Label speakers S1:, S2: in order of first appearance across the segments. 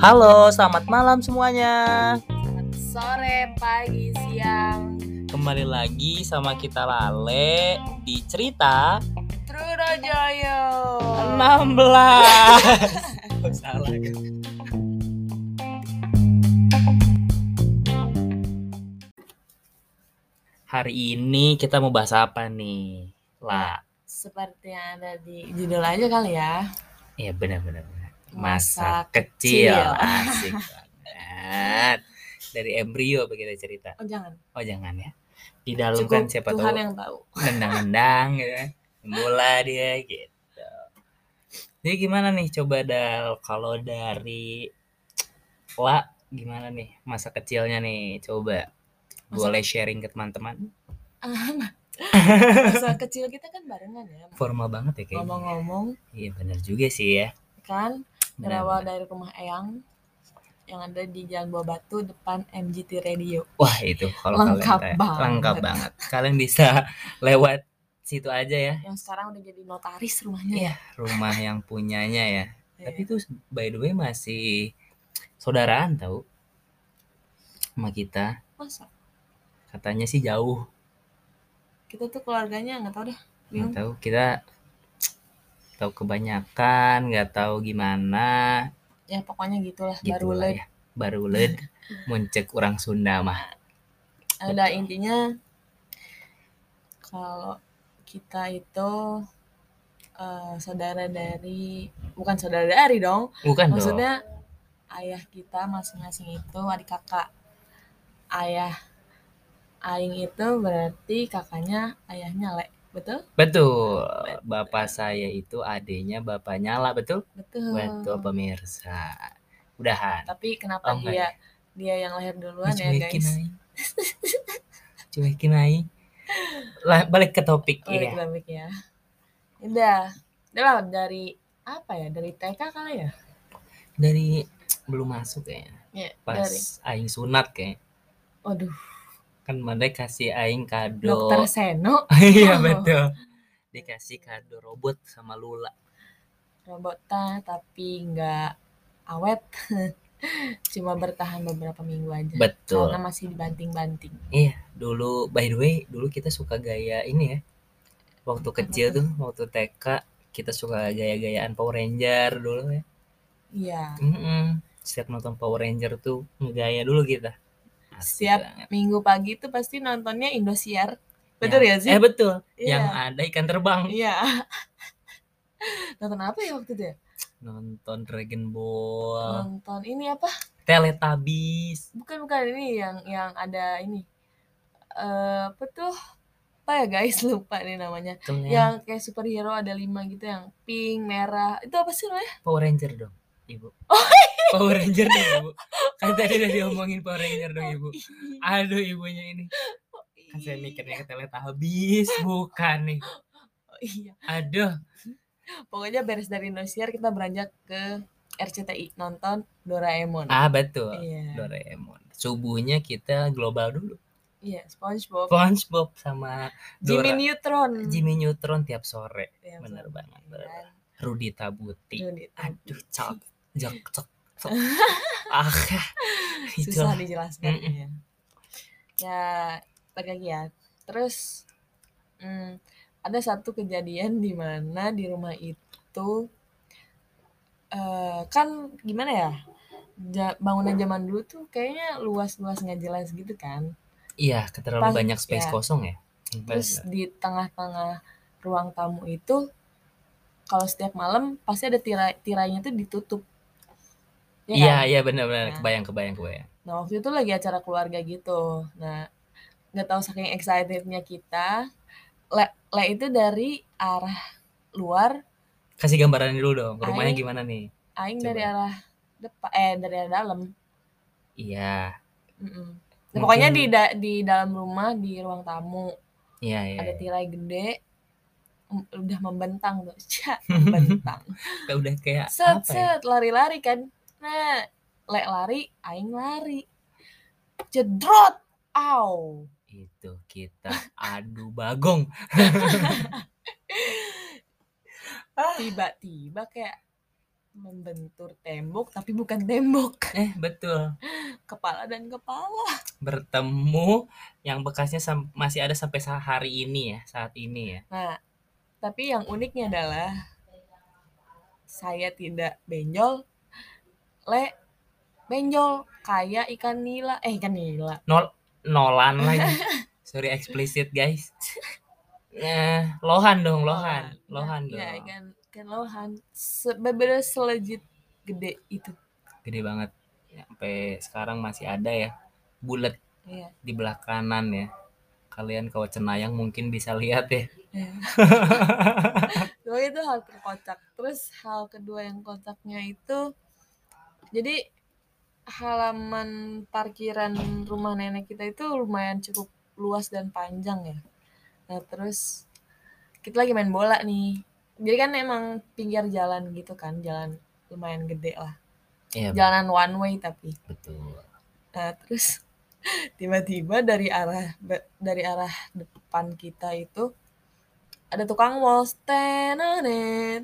S1: Halo, selamat malam semuanya.
S2: sore, pagi, siang,
S1: Kembali lagi sama kita Lale di cerita
S2: Truno Joyo.
S1: 16. Oh, Salah. Hari ini kita mau bahas apa nih? Lah,
S2: Seperti yang ada di judul aja kali ya.
S1: ya benar-benar. benar.
S2: Masa
S1: Masa kecil,
S2: kecil.
S1: asik banget. Dari embrio apa kita cerita?
S2: Oh jangan.
S1: Oh jangan ya. Di dalam
S2: Cukup
S1: kan siapa
S2: Tuhan
S1: tahu
S2: yang tahu.
S1: nendang-nendang gitu kan. bola dia gitu jadi gimana nih coba dal kalau dari la gimana nih masa kecilnya nih coba
S2: Masa-
S1: boleh sharing ke teman-teman
S2: Masa kecil kita kan barengan ya.
S1: formal banget ya kayaknya
S2: Ngomong-ngomong
S1: iya benar juga sih ya
S2: kan
S1: Benar,
S2: berawal
S1: benar.
S2: dari rumah Eyang yang ada di Jalan Buah Batu depan MGT Radio.
S1: wah itu kalau kalian
S2: Lengkap
S1: tanya-
S2: banget.
S1: lengkap banget kalian bisa lewat situ aja ya
S2: Yang sekarang udah jadi notaris rumahnya.
S1: Iya, rumah yang punyanya ya
S2: Iya.
S1: Tapi itu by the way masih saudaraan tau sama kita.
S2: masa
S1: Katanya sih jauh,
S2: kita tuh keluarganya nggak tahu deh.
S1: nggak
S2: Bingung.
S1: tahu kita tahu kebanyakan, nggak tahu gimana.
S2: Ya pokoknya gitulah
S1: Gitu
S2: baru
S1: lah ya. Baru led muncek orang Sunda mah.
S2: ada intinya kalau kita itu eh, saudara dari bukan saudara dari dong
S1: Bukan dong.
S2: maksudnya ayah kita masing-masing itu adik kakak ayah aing itu berarti kakaknya ayahnya le betul
S1: Betul. Bapak saya itu adiknya Bapak Nyala, betul?
S2: betul
S1: Betul pemirsa. Udahan.
S2: tapi kenapa
S1: Oh, enggak
S2: dia dia yang lahir duluan ya
S1: Cuekin
S2: guys
S1: aing. Cuekin aing. Lah, balik ke topik
S2: oh,
S1: ya.
S2: ekonomik ya udah udah lah, dari apa ya dari TK kali ya
S1: dari belum masuk kayaknya
S2: ya
S1: pas
S2: dari
S1: aing sunat kayak
S2: waduh
S1: kan mereka kasih aing kado
S2: Dokter Seno
S1: iya
S2: Oh.
S1: betul dikasih kado robot sama Lula
S2: robotnya tapi nggak awet cuma bertahan beberapa minggu aja
S1: betul
S2: karena masih dibanting-banting
S1: dulu by the way dulu kita suka gaya ini ya waktu kecil tuh waktu TK kita suka gaya-gayaan Power Ranger dulu ya
S2: iya
S1: Mm-mm. setiap nonton Power Ranger tuh ngegaya dulu kita Asik
S2: Siap.
S1: banget.
S2: minggu pagi itu pasti nontonnya Indosiar betul ya,
S1: Yang-
S2: sih
S1: eh betul
S2: iya
S1: yang ada ikan terbang
S2: iya nonton apa ya waktu
S1: Eh.
S2: itu ya?
S1: nonton Dragon Ball
S2: nonton ini apa
S1: Teletubbies
S2: bukan bukan ini yang yang ada ini eh apa tuh apa ya guys lupa nih namanya
S1: Betul ya.
S2: yang kayak superhero ada lima gitu yang pink merah itu apa sih namanya
S1: Power Ranger dong, Ibu.
S2: Oh, iya.
S1: Power Ranger dong, Ibu. Kan tadi udah diomongin Power Ranger dong, Ibu. Aduh, ibunya ini. Kan saya mikirnya ke Teletubbies, bukan nih.
S2: Oh, iya
S1: Aduh,
S2: pokoknya beres dari Indosiar kita beranjak ke RCTI nonton Doraemon
S1: ah betul.
S2: iya
S1: Doraemon. Subuhnya kita global dulu.
S2: iya SpongeBob
S1: SpongeBob sama
S2: Jimmy
S1: Oh, Dora-
S2: Neutron
S1: Jimmy Neutron tiap sore.
S2: Iya, gitu.
S1: Bener
S2: betul.
S1: banget. bener banget.
S2: Kan?
S1: Rudy Tabuti.
S2: Johnny Depp.
S1: Aduh, cok, jok, cok, cok. Ah,
S2: susah
S1: itulah.
S2: dijelaskan
S1: gitu. Mm-mm.
S2: ya ya balik lagi ya terus hmm, ada satu kejadian di mana di rumah itu eh, kan gimana ya Ja- bangunan zaman dulu tuh kayaknya luas-luas nggak jelas gitu kan
S1: Iya, terlalu
S2: Pas-
S1: banyak space
S2: ya.
S1: kosong ya.
S2: terus di tengah-tengah ruang tamu itu kalau setiap malam pasti ada tirai tirainya tuh ditutup Ya kan?
S1: Iya, iya benar-benar
S2: Nah.
S1: kebayang kebayang kebayang.
S2: Nah waktu itu lagi acara keluarga gitu. Nah nggak tahu saking excitednya kita, le, le itu dari arah luar,
S1: Kasih gambaran dulu dong, rumahnya
S2: Aing.
S1: gimana nih?
S2: aing
S1: Coba.
S2: dari arah depan, eh dari arah dalam.
S1: Iya,
S2: Mm-mm. Nah, pokoknya di
S1: Mungkin-
S2: da- di dalam rumah di ruang tamu
S1: iya iya.
S2: ada
S1: iya.
S2: tirai gede, m- udah membentang tuh, Cak, membentang.
S1: Kayak udah kayak apa
S2: Set
S1: ya?
S2: set lari-lari kan. Nah le lari, aing lari, jedrot, au.
S1: Itu kita adu bagong.
S2: tiba-tiba kayak membentur tembok tapi bukan tembok
S1: Eh, betul.
S2: kepala dan kepala
S1: Bertemu yang bekasnya sam- masih ada sampai sa- hari ini ya, saat ini ya.
S2: nah tapi yang uniknya adalah saya tidak benjol le benjol kayak ikan nila eh ikan nila
S1: Nol Nolan lagi. Sorry eksplisit, guys. Nah, lohan dong, lohan. Lohan dong.
S2: Iya, ikan ikan lohan Se- bener-bener selejit gede itu
S1: Gede banget. Sampai sekarang masih ada ya. Bulat
S2: Iya.
S1: di belah kanan ya. Kalian kalau cenayang mungkin bisa lihat ya.
S2: Dua itu hal terkocak. Terus hal kedua yang kocaknya itu jadi halaman parkiran rumah nenek kita itu lumayan cukup luas dan panjang ya. Nah, terus kita lagi main bola nih. Jadi kan emang pinggir jalan gitu kan, jalan lumayan gede lah.
S1: Iya,
S2: Jalanan one way tapi.
S1: betul.
S2: Nah, terus tiba-tiba dari arah dari arah depan kita itu ada tukang walls tenonet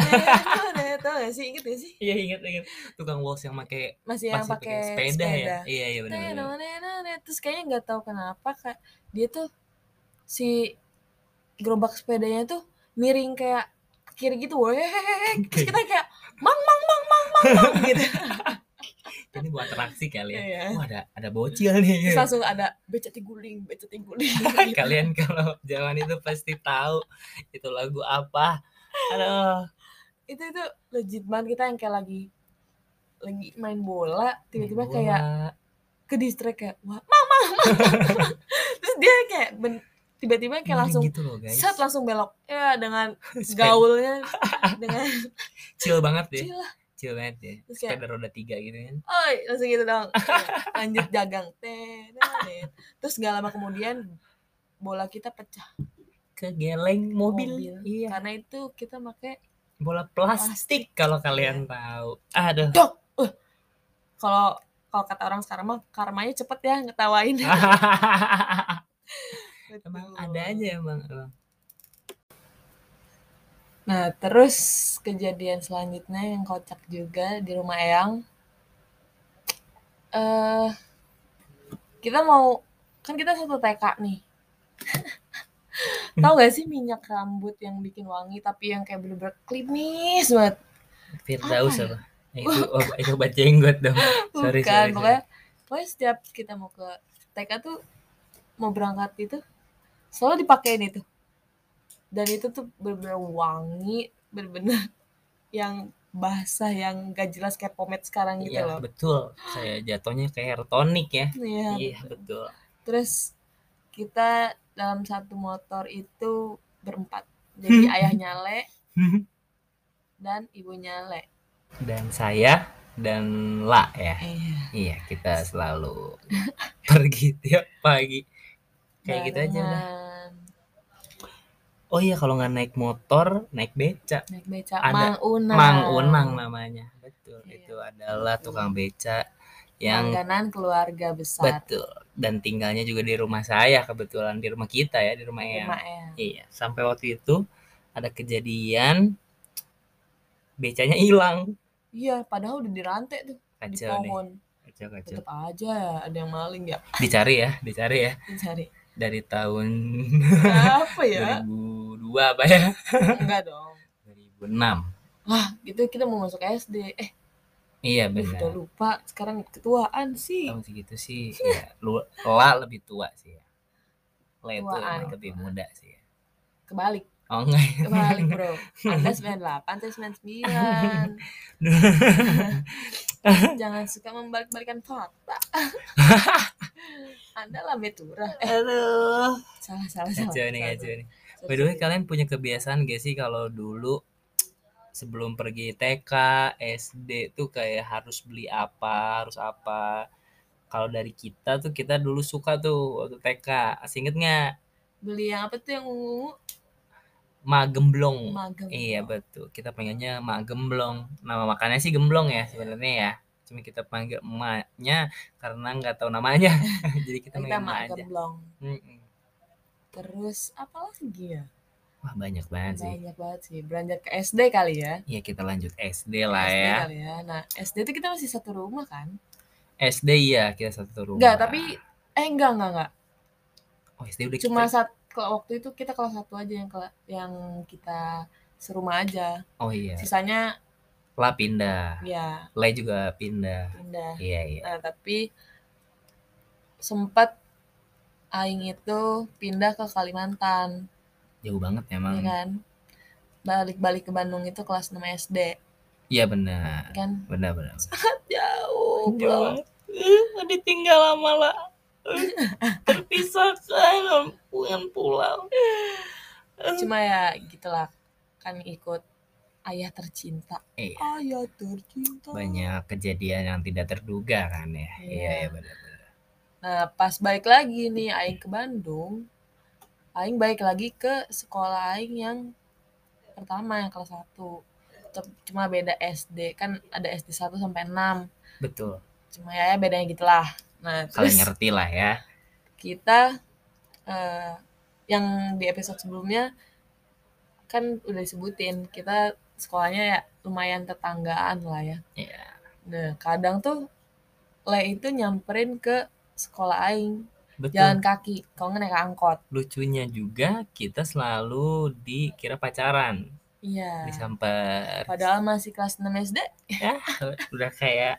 S2: tenonet tau gak sih inget gak sih
S1: Iya, ingat ingat. Tukang walls yang pakai
S2: masih yang
S1: pasti
S2: pakai
S1: sepeda, ya iya iya benar benar
S2: Tenonet-tenonet. terus kayaknya nggak tahu kenapa kak dia tuh si gerobak sepedanya tuh miring kayak ke kiri gitu weh terus kita kayak mang mang mang mang mang mang gitu
S1: ini buat atraksi kali ya
S2: Iya.
S1: wah ada ada bocil nih
S2: terus langsung ada beceti guling beceti guling
S1: kalian kalau jalan itu pasti tahu itu lagu apa aduh
S2: itu itu legit banget kita yang kayak lagi lagi main bola tiba-tiba
S1: Bola.
S2: kayak ke distract kayak wah mama mama terus dia kayak ben- tiba-tiba kayak
S1: Miring
S2: langsung
S1: gitu loh guys
S2: set langsung belok ya dengan
S1: Sepeda-
S2: gaulnya dengan
S1: chill banget ya
S2: cila
S1: chill banget ya
S2: Terus kayak-
S1: sepeda roda tiga gitu kan
S2: oi langsung gitu dong lanjut dagang Tenet. terus gak lama kemudian bola kita pecah
S1: kegeleng mobil,
S2: Mobil.
S1: iya
S2: karena itu kita pakai
S1: bola plastik kalau
S2: Iya.
S1: kalian tahu aduh
S2: dok Uh. kalau kalau kata orang sekarang mah karmanya cepet ya ngetawain
S1: Ah, emang
S2: Betul.
S1: ada aja emang emang.
S2: Nah, terus kejadian selanjutnya yang kocak juga di rumah Eyang. Eh, kita mau kan kita satu TK nih. Tahu gak sih minyak rambut yang bikin wangi tapi yang kayak bener-bener klimis banget.
S1: Firdaus apa
S2: Apa
S1: Eh, itu obat, itu obat jenggot dong sorry sorry,
S2: Bukan,
S1: sorry.
S2: pokoknya, pokoknya setiap kita mau ke TK tuh mau berangkat itu selalu dipakein itu. Dan itu tuh bener-bener wangi, bener-bener yang basah yang gak jelas kayak pomade sekarang gitu
S1: Iya
S2: loh.
S1: betul. Saya jatuhnya kayak hair tonic ya.
S2: Iya.
S1: Iya betul.
S2: Terus kita dalam satu motor itu berempat. Jadi ayahnya Le dan ibunya Le.
S1: Dan saya dan La ya.
S2: Iya.
S1: Iya kita selalu pergi tiap pagi. Kayak gitu aja udah.
S2: barengan.
S1: Oh iya kalau nggak naik motor naik beca.
S2: Naik beca
S1: Ada
S2: Mang Unang.
S1: Mang Unang namanya. Betul.
S2: Nah. Iya.
S1: Itu adalah tukang beca yang
S2: Langganan keluarga besar.
S1: betul dan tinggalnya juga di rumah saya kebetulan di rumah kita ya di rumah yang
S2: Rumah Eyang.
S1: Iya, sampai waktu itu ada kejadian becanya hilang.
S2: Iya, padahal udah di rantai tuh, di
S1: Kacau nih,
S2: pohon.
S1: kacau kacau.
S2: Tetep aja ada yang maling ya,
S1: Dicari ya, dicari ya.
S2: dicari.
S1: Dari tahun
S2: Apa ya?
S1: 2002 apa ya?
S2: Enggak dong.
S1: 2006.
S2: Wah, gitu kita mau masuk SD. Eh,
S1: Iya
S2: udah
S1: benar.
S2: lupa. Sekarang ketuaan sih.
S1: Tahun segitu sih, ya, lu, la lebih tua sih ya. Le itu
S2: Tuaan.
S1: emang lebih muda sih ya.
S2: Kebalik.
S1: Oh enggak. ya?
S2: Kebalik bro Anda 98 Saya 99 Jangan suka membalik-balikan fakta Anda lambe turah Eh
S1: Aduh.
S2: salah salah salah
S1: Kacau nih,
S2: salah,
S1: kacau nih.
S2: salah.
S1: By the way, kalian punya kebiasaan gak sih kalau dulu sebelum pergi TK, SD tuh kayak harus beli apa, harus apa. Kalau dari kita tuh kita dulu suka tuh waktu TK. Masih inget nggak?
S2: Beli yang apa tuh yang ungu
S1: Magemblong.
S2: Magem
S1: Iya betul. Kita pengennya magemblong. Nama makannya sih gemblong ya sebenarnya ya. Cuma kita panggil emaknya karena nggak tahu namanya. Jadi kita manggil
S2: Kita
S1: emak aja.
S2: magem blong
S1: Mm-mm.
S2: Terus apa lagi ya
S1: Wah banyak banget Iya sih.
S2: Banyak banget sih. Beranjak ke SD kali ya.
S1: Ya kita lanjut SD lah
S2: SD
S1: ya.
S2: kali ya. Nah, SD itu kita masih satu rumah kan?
S1: SD iya kita satu rumah.
S2: Enggak, tapi eh enggak enggak enggak.
S1: oh, SD udah
S2: Cuma
S1: kita-
S2: saat kalau waktu itu kita kelas satu aja yang kela- yang kita serumah aja.
S1: Oh iya.
S2: Sisanya
S1: La pindah.
S2: ya
S1: Le juga pindah.
S2: pindah.
S1: Iya iya.
S2: Nah, tapi sempat aing itu pindah ke Kalimantan,
S1: Jauh banget
S2: ya
S1: emang.
S2: kan? Balik-balik ke Bandung itu kelas 6 SD,
S1: Iya benar.
S2: kan?
S1: Benar benar.
S2: Jauh, bro.
S1: Jauh. Ditinggal sama La. Terpisahkan dengan pulau.
S2: Cuma ya gitulah kan ikut ayah tercinta.
S1: Iya.
S2: Ayah tercinta.
S1: Banyak kejadian yang tidak terduga kan ya.
S2: Iya.
S1: Iya iya benar. benar.
S2: Nah, pas balik lagi nih aing ke Bandung, aing balik lagi ke sekolah aing yang pertama yang kelas 1. Cuma beda SD, kan ada SD 1 sampai 6.
S1: Betul.
S2: Cuma ya bedanya gitulah. Nah,
S1: Kalian
S2: terus
S1: ngerti lah ya.
S2: kita eh, yang di episode sebelumnya kan udah disebutin, kita sekolahnya ya lumayan tetanggaan lah ya.
S1: Iya.
S2: Nah, kadang tuh Le itu nyamperin ke sekolah aing
S1: Betul.
S2: jalan kaki kalau nggak naik angkot
S1: Lucunya juga kita selalu dikira pacaran.
S2: iya
S1: Disamper.
S2: padahal masih kelas 6 SD
S1: ya udah kayak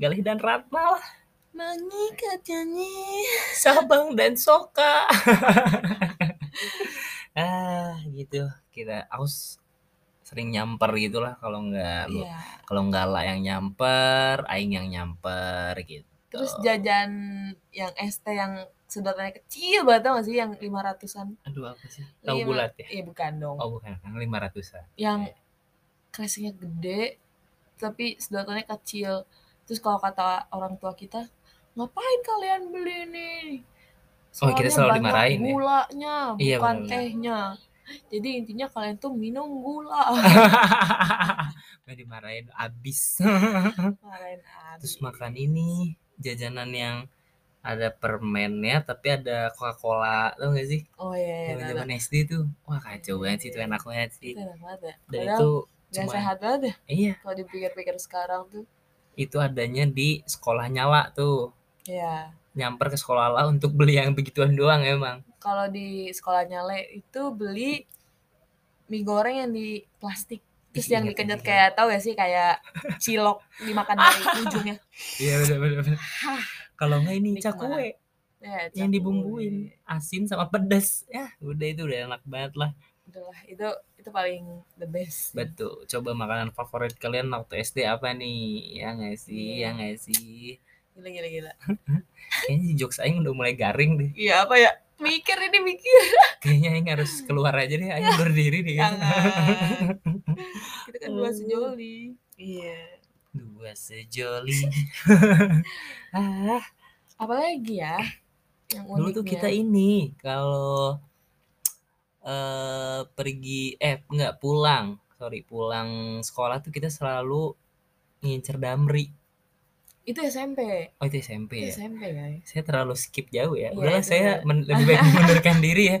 S1: Galih dan Ratna lah
S2: Mangi katanya
S1: Sabang dan Soka ah gitu kita aus sering nyamper gitulah kalau nggak lu-
S2: iya
S1: kalau nggak lah yang nyamper aing yang nyamper gitu
S2: terus jajan yang ST yang sedotannya kecil banget tau nggak sih yang lima ratusan
S1: aduh apa sih tahu
S2: Lima-
S1: bulat ya
S2: iya bukan dong
S1: oh bukan kan lima ratusan
S2: yang kreasinya gede tapi sedotannya kecil terus kalau kata orang tua kita ngapain kalian beli ini
S1: Oh, kita
S2: Soalnya
S1: selalu
S2: banyak
S1: dimarahin ya?
S2: gulanya
S1: Iya,
S2: bukan
S1: benar-benar.
S2: tehnya jadi intinya kalian tuh minum gula
S1: nggak dimarahin abis
S2: Marahin Abi.
S1: terus makan ini jajanan yang ada permennya tapi ada Coca-Cola tau gak sih
S2: oh iya, iya
S1: zaman
S2: nah,
S1: zaman SD tuh wah kacau banget sih itu enak banget sih
S2: itu enak banget ya
S1: dan
S2: Padahal
S1: itu
S2: gak
S1: cuma
S2: sehat banget ya
S1: iya
S2: kalau dipikir-pikir sekarang tuh
S1: itu adanya di sekolah nyala tuh
S2: ya
S1: nyamper ke sekolah lah untuk beli yang begituan doang emang
S2: kalau di sekolahnya Le itu beli mie goreng yang di plastik terus
S1: Ih,
S2: yang
S1: ingat,
S2: dikenyot
S1: ingat.
S2: kayak tau gak sih kayak cilok dimakan dari ujungnya
S1: iya bener bener bener. kalau nggak ini
S2: Nikmat.
S1: cakwe yang
S2: ya, cakwe.
S1: dibumbuin asin sama pedas ya udah itu udah enak banget lah
S2: Udah lah, itu itu paling the best
S1: betul coba makanan favorit kalian waktu SD apa nih ya nggak sih ya
S2: Iya.
S1: nggak sih
S2: gila gila gila
S1: kayaknya si jokes aing udah mulai garing deh
S2: iya apa ya mikir ini mikir
S1: kayaknya aing harus keluar aja deh aing berdiri deh
S2: Iya. jangan kita kan dua
S1: Hmm.
S2: sejoli iya
S1: dua sejoli ah
S2: apalagi ya yang ya.
S1: dulu tuh
S2: uniknya.
S1: kita ini kalau eh pergi eh nggak pulang sorry pulang sekolah tuh kita selalu ngincer damri
S2: itu SMP
S1: oh itu SMP
S2: itu
S1: ya
S2: SMP guys
S1: saya terlalu skip jauh ya
S2: Iya,
S1: udahlah
S2: itu
S1: saya
S2: ya.
S1: men- lebih baik mengundurkan diri ya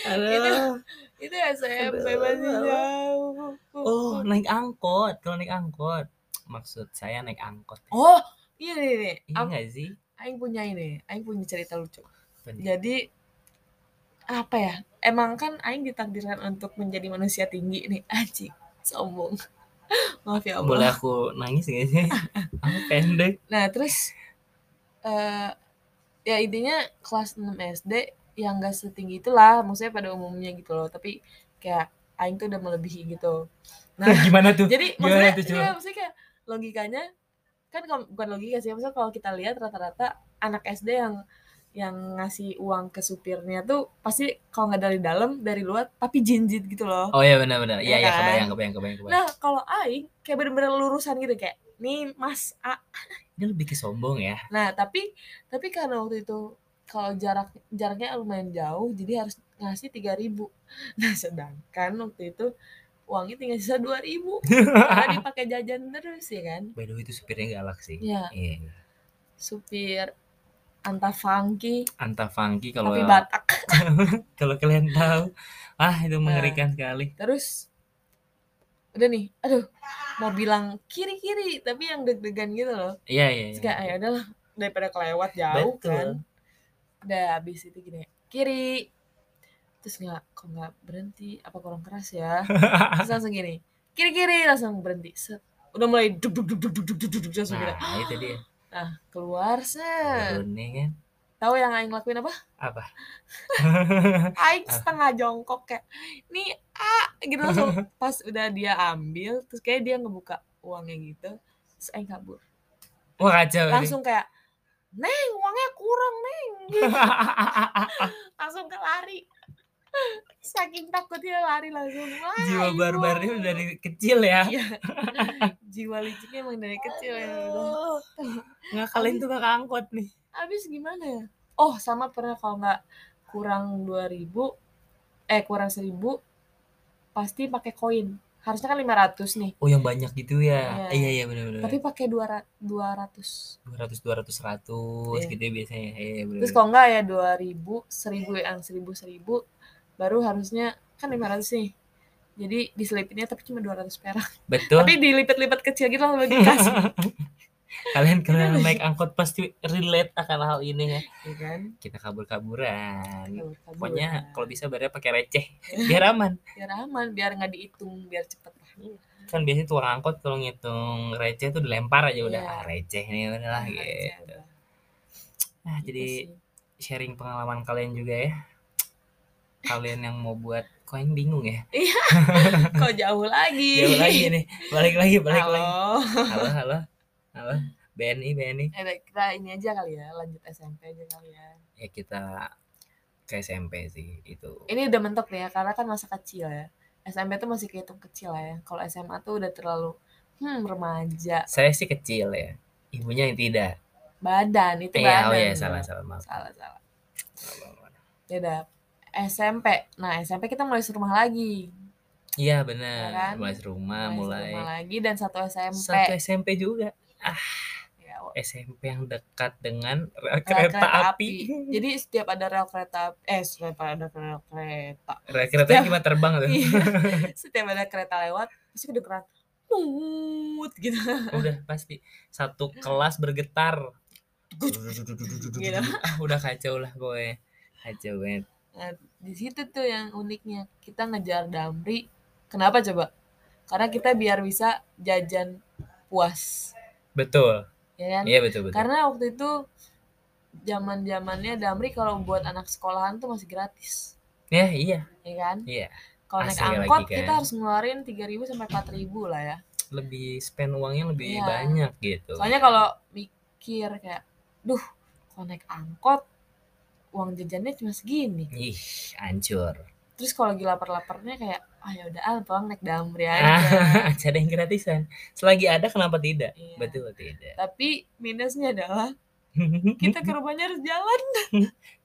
S2: Itu-
S1: Aduh.
S2: itu SMP
S1: Aduh,
S2: masih
S1: aduh.
S2: jauh
S1: Oh, naik angkot. Kalau naik angkot, maksud saya naik angkot.
S2: oh iya nih nih
S1: Iya
S2: Am-
S1: nggak sih?
S2: Aing punya ini Aing punya cerita lucu
S1: Apa nih?
S2: jadi apa ya emang kan Aing ditakdirkan untuk menjadi manusia tinggi nih anjing sombong maaf ya Allah
S1: Boleh aku nangis nggak sih? aku pendek.
S2: nah terus eh ya intinya kelas 6 SD yang gak setinggi itulah maksudnya pada umumnya gitu loh tapi kayak Aing tuh udah melebihi gitu nah
S1: Gimana tuh?
S2: jadi
S1: Gimana
S2: maksudnya
S1: tuh, coba?
S2: iya, maksudnya kayak logikanya kan kalau- bukan logika sih maksudnya kalau kita lihat rata-rata anak SD yang yang ngasih uang ke supirnya tuh pasti kalau nggak dari dalam dari luar tapi jinjit gitu loh
S1: Oh iya benar-benar. Iya
S2: Iya
S1: iya
S2: kan?
S1: kebayang kebayang kebayang kebayang.
S2: nah kalau Aing kayak bener-bener lurusan gitu kayak nih Mas A
S1: Ini lebih ke sombong ya.
S2: nah tapi tapi karena waktu itu kalau jarak jaraknya lumayan jauh jadi harus ngasih 3000 nah sedangkan waktu itu uangnya tinggal sisa 2000 karena dipakai jajan terus ya kan
S1: Iya.
S2: Iya.
S1: By the way itu supirnya galak sih.
S2: ya
S1: Iya.
S2: supir Anta funky
S1: Anta Funky kalau
S2: tapi Batak.
S1: kalau kalian tahu ah itu
S2: Nah.
S1: mengerikan sekali
S2: Terus udah nih, aduh mau bilang kiri kiri tapi yang deg-degan gitu loh.
S1: iya iya
S2: Terus
S1: iya.
S2: kayak ya udahlah daripada kelewat jauh
S1: Betul.
S2: kan. Udah habis itu gini kiri. Terus nggak kok nggak berhenti apa kurang keras ya. Terus langsung gini kiri kiri langsung berhenti. Set. Udah mulai duk duk duk duk duk duk duk duk, duk, langsung
S1: nah
S2: gini.
S1: itu dia
S2: Nah keluar set.
S1: Beruni kan
S2: Tahu yang Aing lakuin apa?
S1: apa
S2: Aing setengah jongkok kayak nih ah gitu langsung pas udah dia ambil terus kayak dia ngebuka uangnya gitu terus Aing kabur
S1: wah kacau ini.
S2: langsung kayak neng uangnya kurang neng gitu. langsung ke lari saking takutnya lari langsung Wah,
S1: jiwa
S2: ibu.
S1: barbarnya udah dari kecil ya
S2: Iya. jiwa liciknya emang dari kecil ya udah.
S1: Aduh.
S2: Nah,
S1: ngakalin tuh kakak angkot nih
S2: abis gimana ya oh sama pernah kalau nggak kurang 2000 eh kurang 1000 pasti pakai koin harusnya kan 500 nih
S1: oh yang banyak gitu ya
S2: Iya.
S1: iya iya benar-benar
S2: tapi pakai 200 200
S1: 200 200 100
S2: Iya.
S1: gitu ya biasanya iya iya,
S2: Terus
S1: benar-benar
S2: kalau enggak ya 2000, 1000 yang 1000 1000 baru harusnya kan 500 nih. Jadi diselipinnya tapi cuma 200 perak.
S1: betul
S2: Tapi dilipet-lipet kecil gitu langsung dikasih,
S1: kalian kalian
S2: Bener.
S1: naik angkot pasti relate akan hal ini ya
S2: ya kan?
S1: kita kabur-kaburan
S2: Kabur- kabur.
S1: pokoknya kalau bisa bayarnya pakai receh biar aman
S2: biar aman, biar nggak dihitung, biar cepet lah.
S1: kan biasanya tukang angkot kalau ngitung receh tuh dilempar aja udah
S2: Iya.
S1: ah, receh nih udah lah
S2: Aman aja,
S1: gitu
S2: udah.
S1: nah
S2: Gitu
S1: jadi
S2: sih.
S1: sharing pengalaman kalian juga ya kalian yang mau buat kok yang bingung ya
S2: kok jauh lagi.
S1: jauh lagi nih balik lagi balik lagi
S2: Iya. Halo.
S1: halo halo halo BNI BNI
S2: Eh, baik, kita ini aja kali ya, lanjut SMP aja kali ya.
S1: ya kita ke SMP sih itu
S2: Ini udah mentok deh ya, karena kan masa kecil ya. SMP tuh masih kehitung kecil lah ya. Kalau SMA tuh udah terlalu hmm remaja.
S1: saya sih kecil ya ibunya yang tidak
S2: Badan itu
S1: Eh,
S2: badan.
S1: iya oh ya salah salah maaf
S2: salah salah
S1: Salah, maaf.
S2: ya udah SMP nah SMP kita mulai serumah lagi
S1: iya benar
S2: Ya kan?
S1: mulai rumah mulai,
S2: serumah lagi dan satu SMP
S1: satu SMP juga
S2: Ya, rel
S1: SMP yang dekat dengan rel
S2: Ya, kereta,
S1: kereta, api,
S2: jadi setiap ada rel kereta eh setiap ada rel kereta
S1: rel kereta
S2: Setiap-
S1: cuma terbang tuh
S2: Ya. Iya. setiap ada kereta lewat pasti kedengeran mut gitu
S1: udah pasti satu kelas bergetar
S2: Gitu.
S1: Ah, udah kacau lah gue kacau banget
S2: Nah, di situ tuh yang uniknya kita ngejar Damri kenapa coba karena kita biar bisa jajan puas
S1: betul
S2: ya kan
S1: iya betul betul
S2: Karena waktu itu zaman zamannya Damri kalau buat anak sekolahan tuh masih gratis,
S1: ya iya
S2: ya kan?
S1: iya
S2: Kalau
S1: Asli
S2: naik
S1: lagi
S2: angkot
S1: kan.
S2: kita harus ngeluarin 3.000 sampai 4.000 lah ya.
S1: lebih spend uangnya lebih
S2: Iya.
S1: banyak gitu
S2: Soalnya kalau mikir kayak, duh, kalau naik angkot uang jajannya cuma segini.
S1: ih hancur
S2: Terus kalau lagi lapar-laparnya kayak, ah ya udah, ah, pulang naik Damri aja.
S1: ah ada yang gratisan selagi ada kenapa tidak
S2: Iya.
S1: betul tidak
S2: Tapi minusnya adalah kita ke rumahnya harus jalan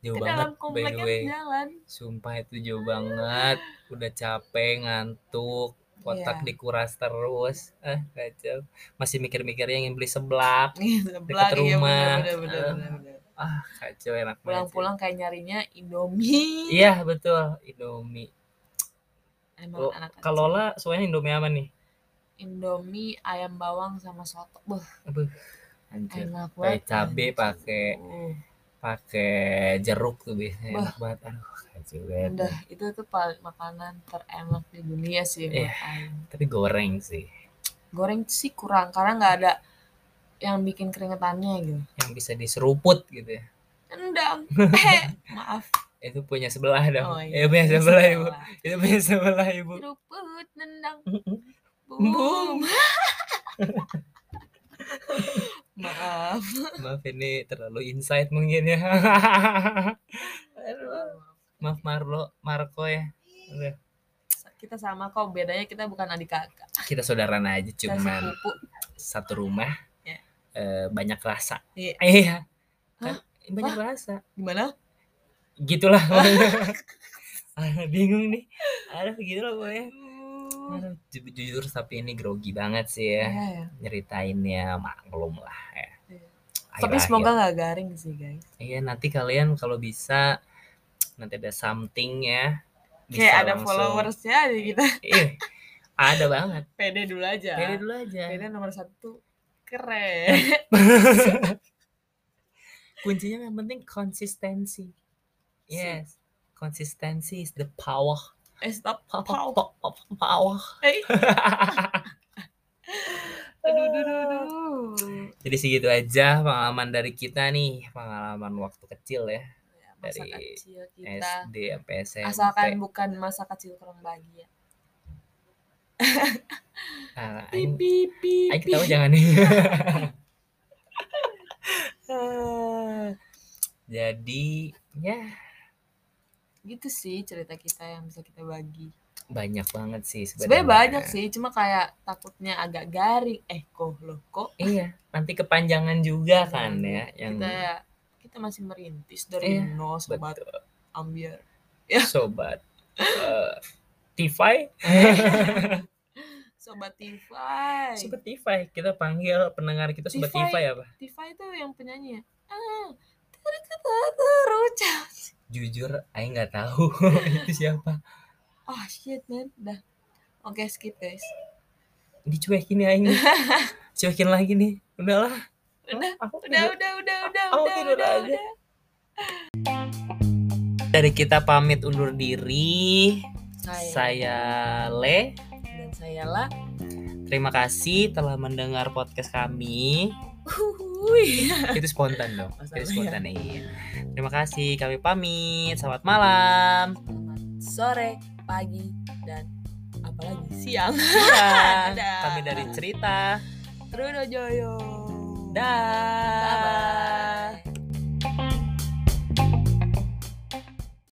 S1: jauh
S2: ke
S1: banget by
S2: dalam
S1: the
S2: kompleknya
S1: way
S2: harus jalan.
S1: sumpah itu jauh banget udah capek ngantuk otak
S2: Iya.
S1: dikuras terus ah kacau masih mikir-mikir yang ingin beli seblak
S2: Sebelah, iya,
S1: rumah.
S2: bener-bener, bener-bener.
S1: ah kacau enak banget sih.
S2: pulang-pulang kayak nyarinya Indomie.
S1: iya betul indomie Lo-
S2: Emang anak kecil.
S1: Oh, kalau lah soalnya indomie apa nih
S2: Indomie ayam bawang sama soto. Beuh,
S1: Aduh, hancur
S2: enak
S1: pakai
S2: banget.
S1: cabe pakai
S2: Uh,
S1: pakai jeruk tuh biasanya
S2: Wah.
S1: enak banget aduh kacau banget
S2: udah itu tuh paling makanan terenak di dunia sih buat
S1: Iya.
S2: Aing.
S1: tapi goreng sih
S2: Goreng sih kurang karena nggak ada yang bikin keringetannya gitu.
S1: yang bisa diseruput gitu ya
S2: Endang. Eh, maaf.
S1: itu punya sebelah dong
S2: Oh,
S1: itu punya sebelah ibu
S2: Sebelah.
S1: itu punya sebelah ibu
S2: Seruput nendang.
S1: Boom.
S2: Boom. maaf.
S1: maaf ini terlalu insight mungkin ya Aduh. maaf Marlo Marco ya Udah.
S2: Kita sama kok, bedanya kita bukan adik kakak.
S1: kita saudaraan aja
S2: Kita
S1: cuman
S2: sepupu.
S1: satu rumah
S2: Ya.
S1: eh, banyak rasa
S2: Iya.
S1: iya kan
S2: Hah?
S1: banyak rasa
S2: Gimana?
S1: gitulah Aduh, bingung nih aduh gitu loh pokoknya Aduh, ju- jujur tapi ini grogi banget sih ya
S2: Iya, ya.
S1: nyeritainnya maklum lah ya
S2: Iya. Tapi semoga nggak garing sih guys.
S1: Iya nanti kalian kalau bisa nanti ada something ya.
S2: Kayak
S1: Bisa
S2: ada
S1: langsung-
S2: followersnya aja kita.
S1: Ih, ada banget.
S2: Pede dulu aja.
S1: Pilih dulu aja.
S2: Pede nomor satu keren.
S1: Kuncinya yang penting konsistensi. Yes, konsistensi is the power.
S2: eh stop.
S1: Pow,
S2: Pow.
S1: pow, pow, pow, power.
S2: Eh. aduh, aduh, aduh, aduh.
S1: Jadi segitu aja pengalaman dari kita nih, pengalaman waktu kecil ya
S2: Ya, Masa
S1: Dari
S2: kecil kita.
S1: SD sampai SMP.
S2: Asalkan bukan masa kecil kurang bahagia.
S1: Ah, aing-
S2: Pipi, pipi.
S1: aing ketawa jangan nih. Jadi ya
S2: gitu sih cerita kita yang bisa kita bagi.
S1: banyak banget sih
S2: Sebenarnya banyak sih, cuma kayak takutnya agak garing. Eh, kok loh kok?
S1: Iya, nanti kepanjangan juga kan
S2: Jangan.
S1: ya yang
S2: Iya, Kita kita masih merintis dari
S1: Iya,
S2: nol sobat
S1: betul.
S2: ambiar.
S1: Sobat eh, Tify,
S2: Sobat Tifai.
S1: sobat Tify, kita panggil pendengar kita sobat ya,
S2: Tify.
S1: Tify apa?
S2: Tifai itu yang penyanyi ya? Ah, terkata terucap.
S1: Jujur, Aing nggak tahu itu siapa.
S2: Oh shit man, dah. Oke skip guys.
S1: Dicuekin ya Aing, cuekin lagi nih. Udahlah,
S2: Udah,
S1: aku
S2: udah, udah, udah, udah,
S1: Aku
S2: udah,
S1: tidur
S2: udah,
S1: aja.
S2: udah.
S1: dari kita pamit undur diri.
S2: Oh, iya.
S1: Saya Le.
S2: dan saya lah.
S1: Terima kasih telah mendengar podcast kami.
S2: Uhuy.
S1: Itu spontan dong.
S2: Masalah
S1: Itu
S2: ya.
S1: spontan iya. Terima kasih. Kami pamit. Selamat malam.
S2: Selamat sore, pagi, dan apalagi siang. Dadah.
S1: Iya. Kami dari cerita.
S2: Truno Joyo.
S1: Dah.
S2: Bye.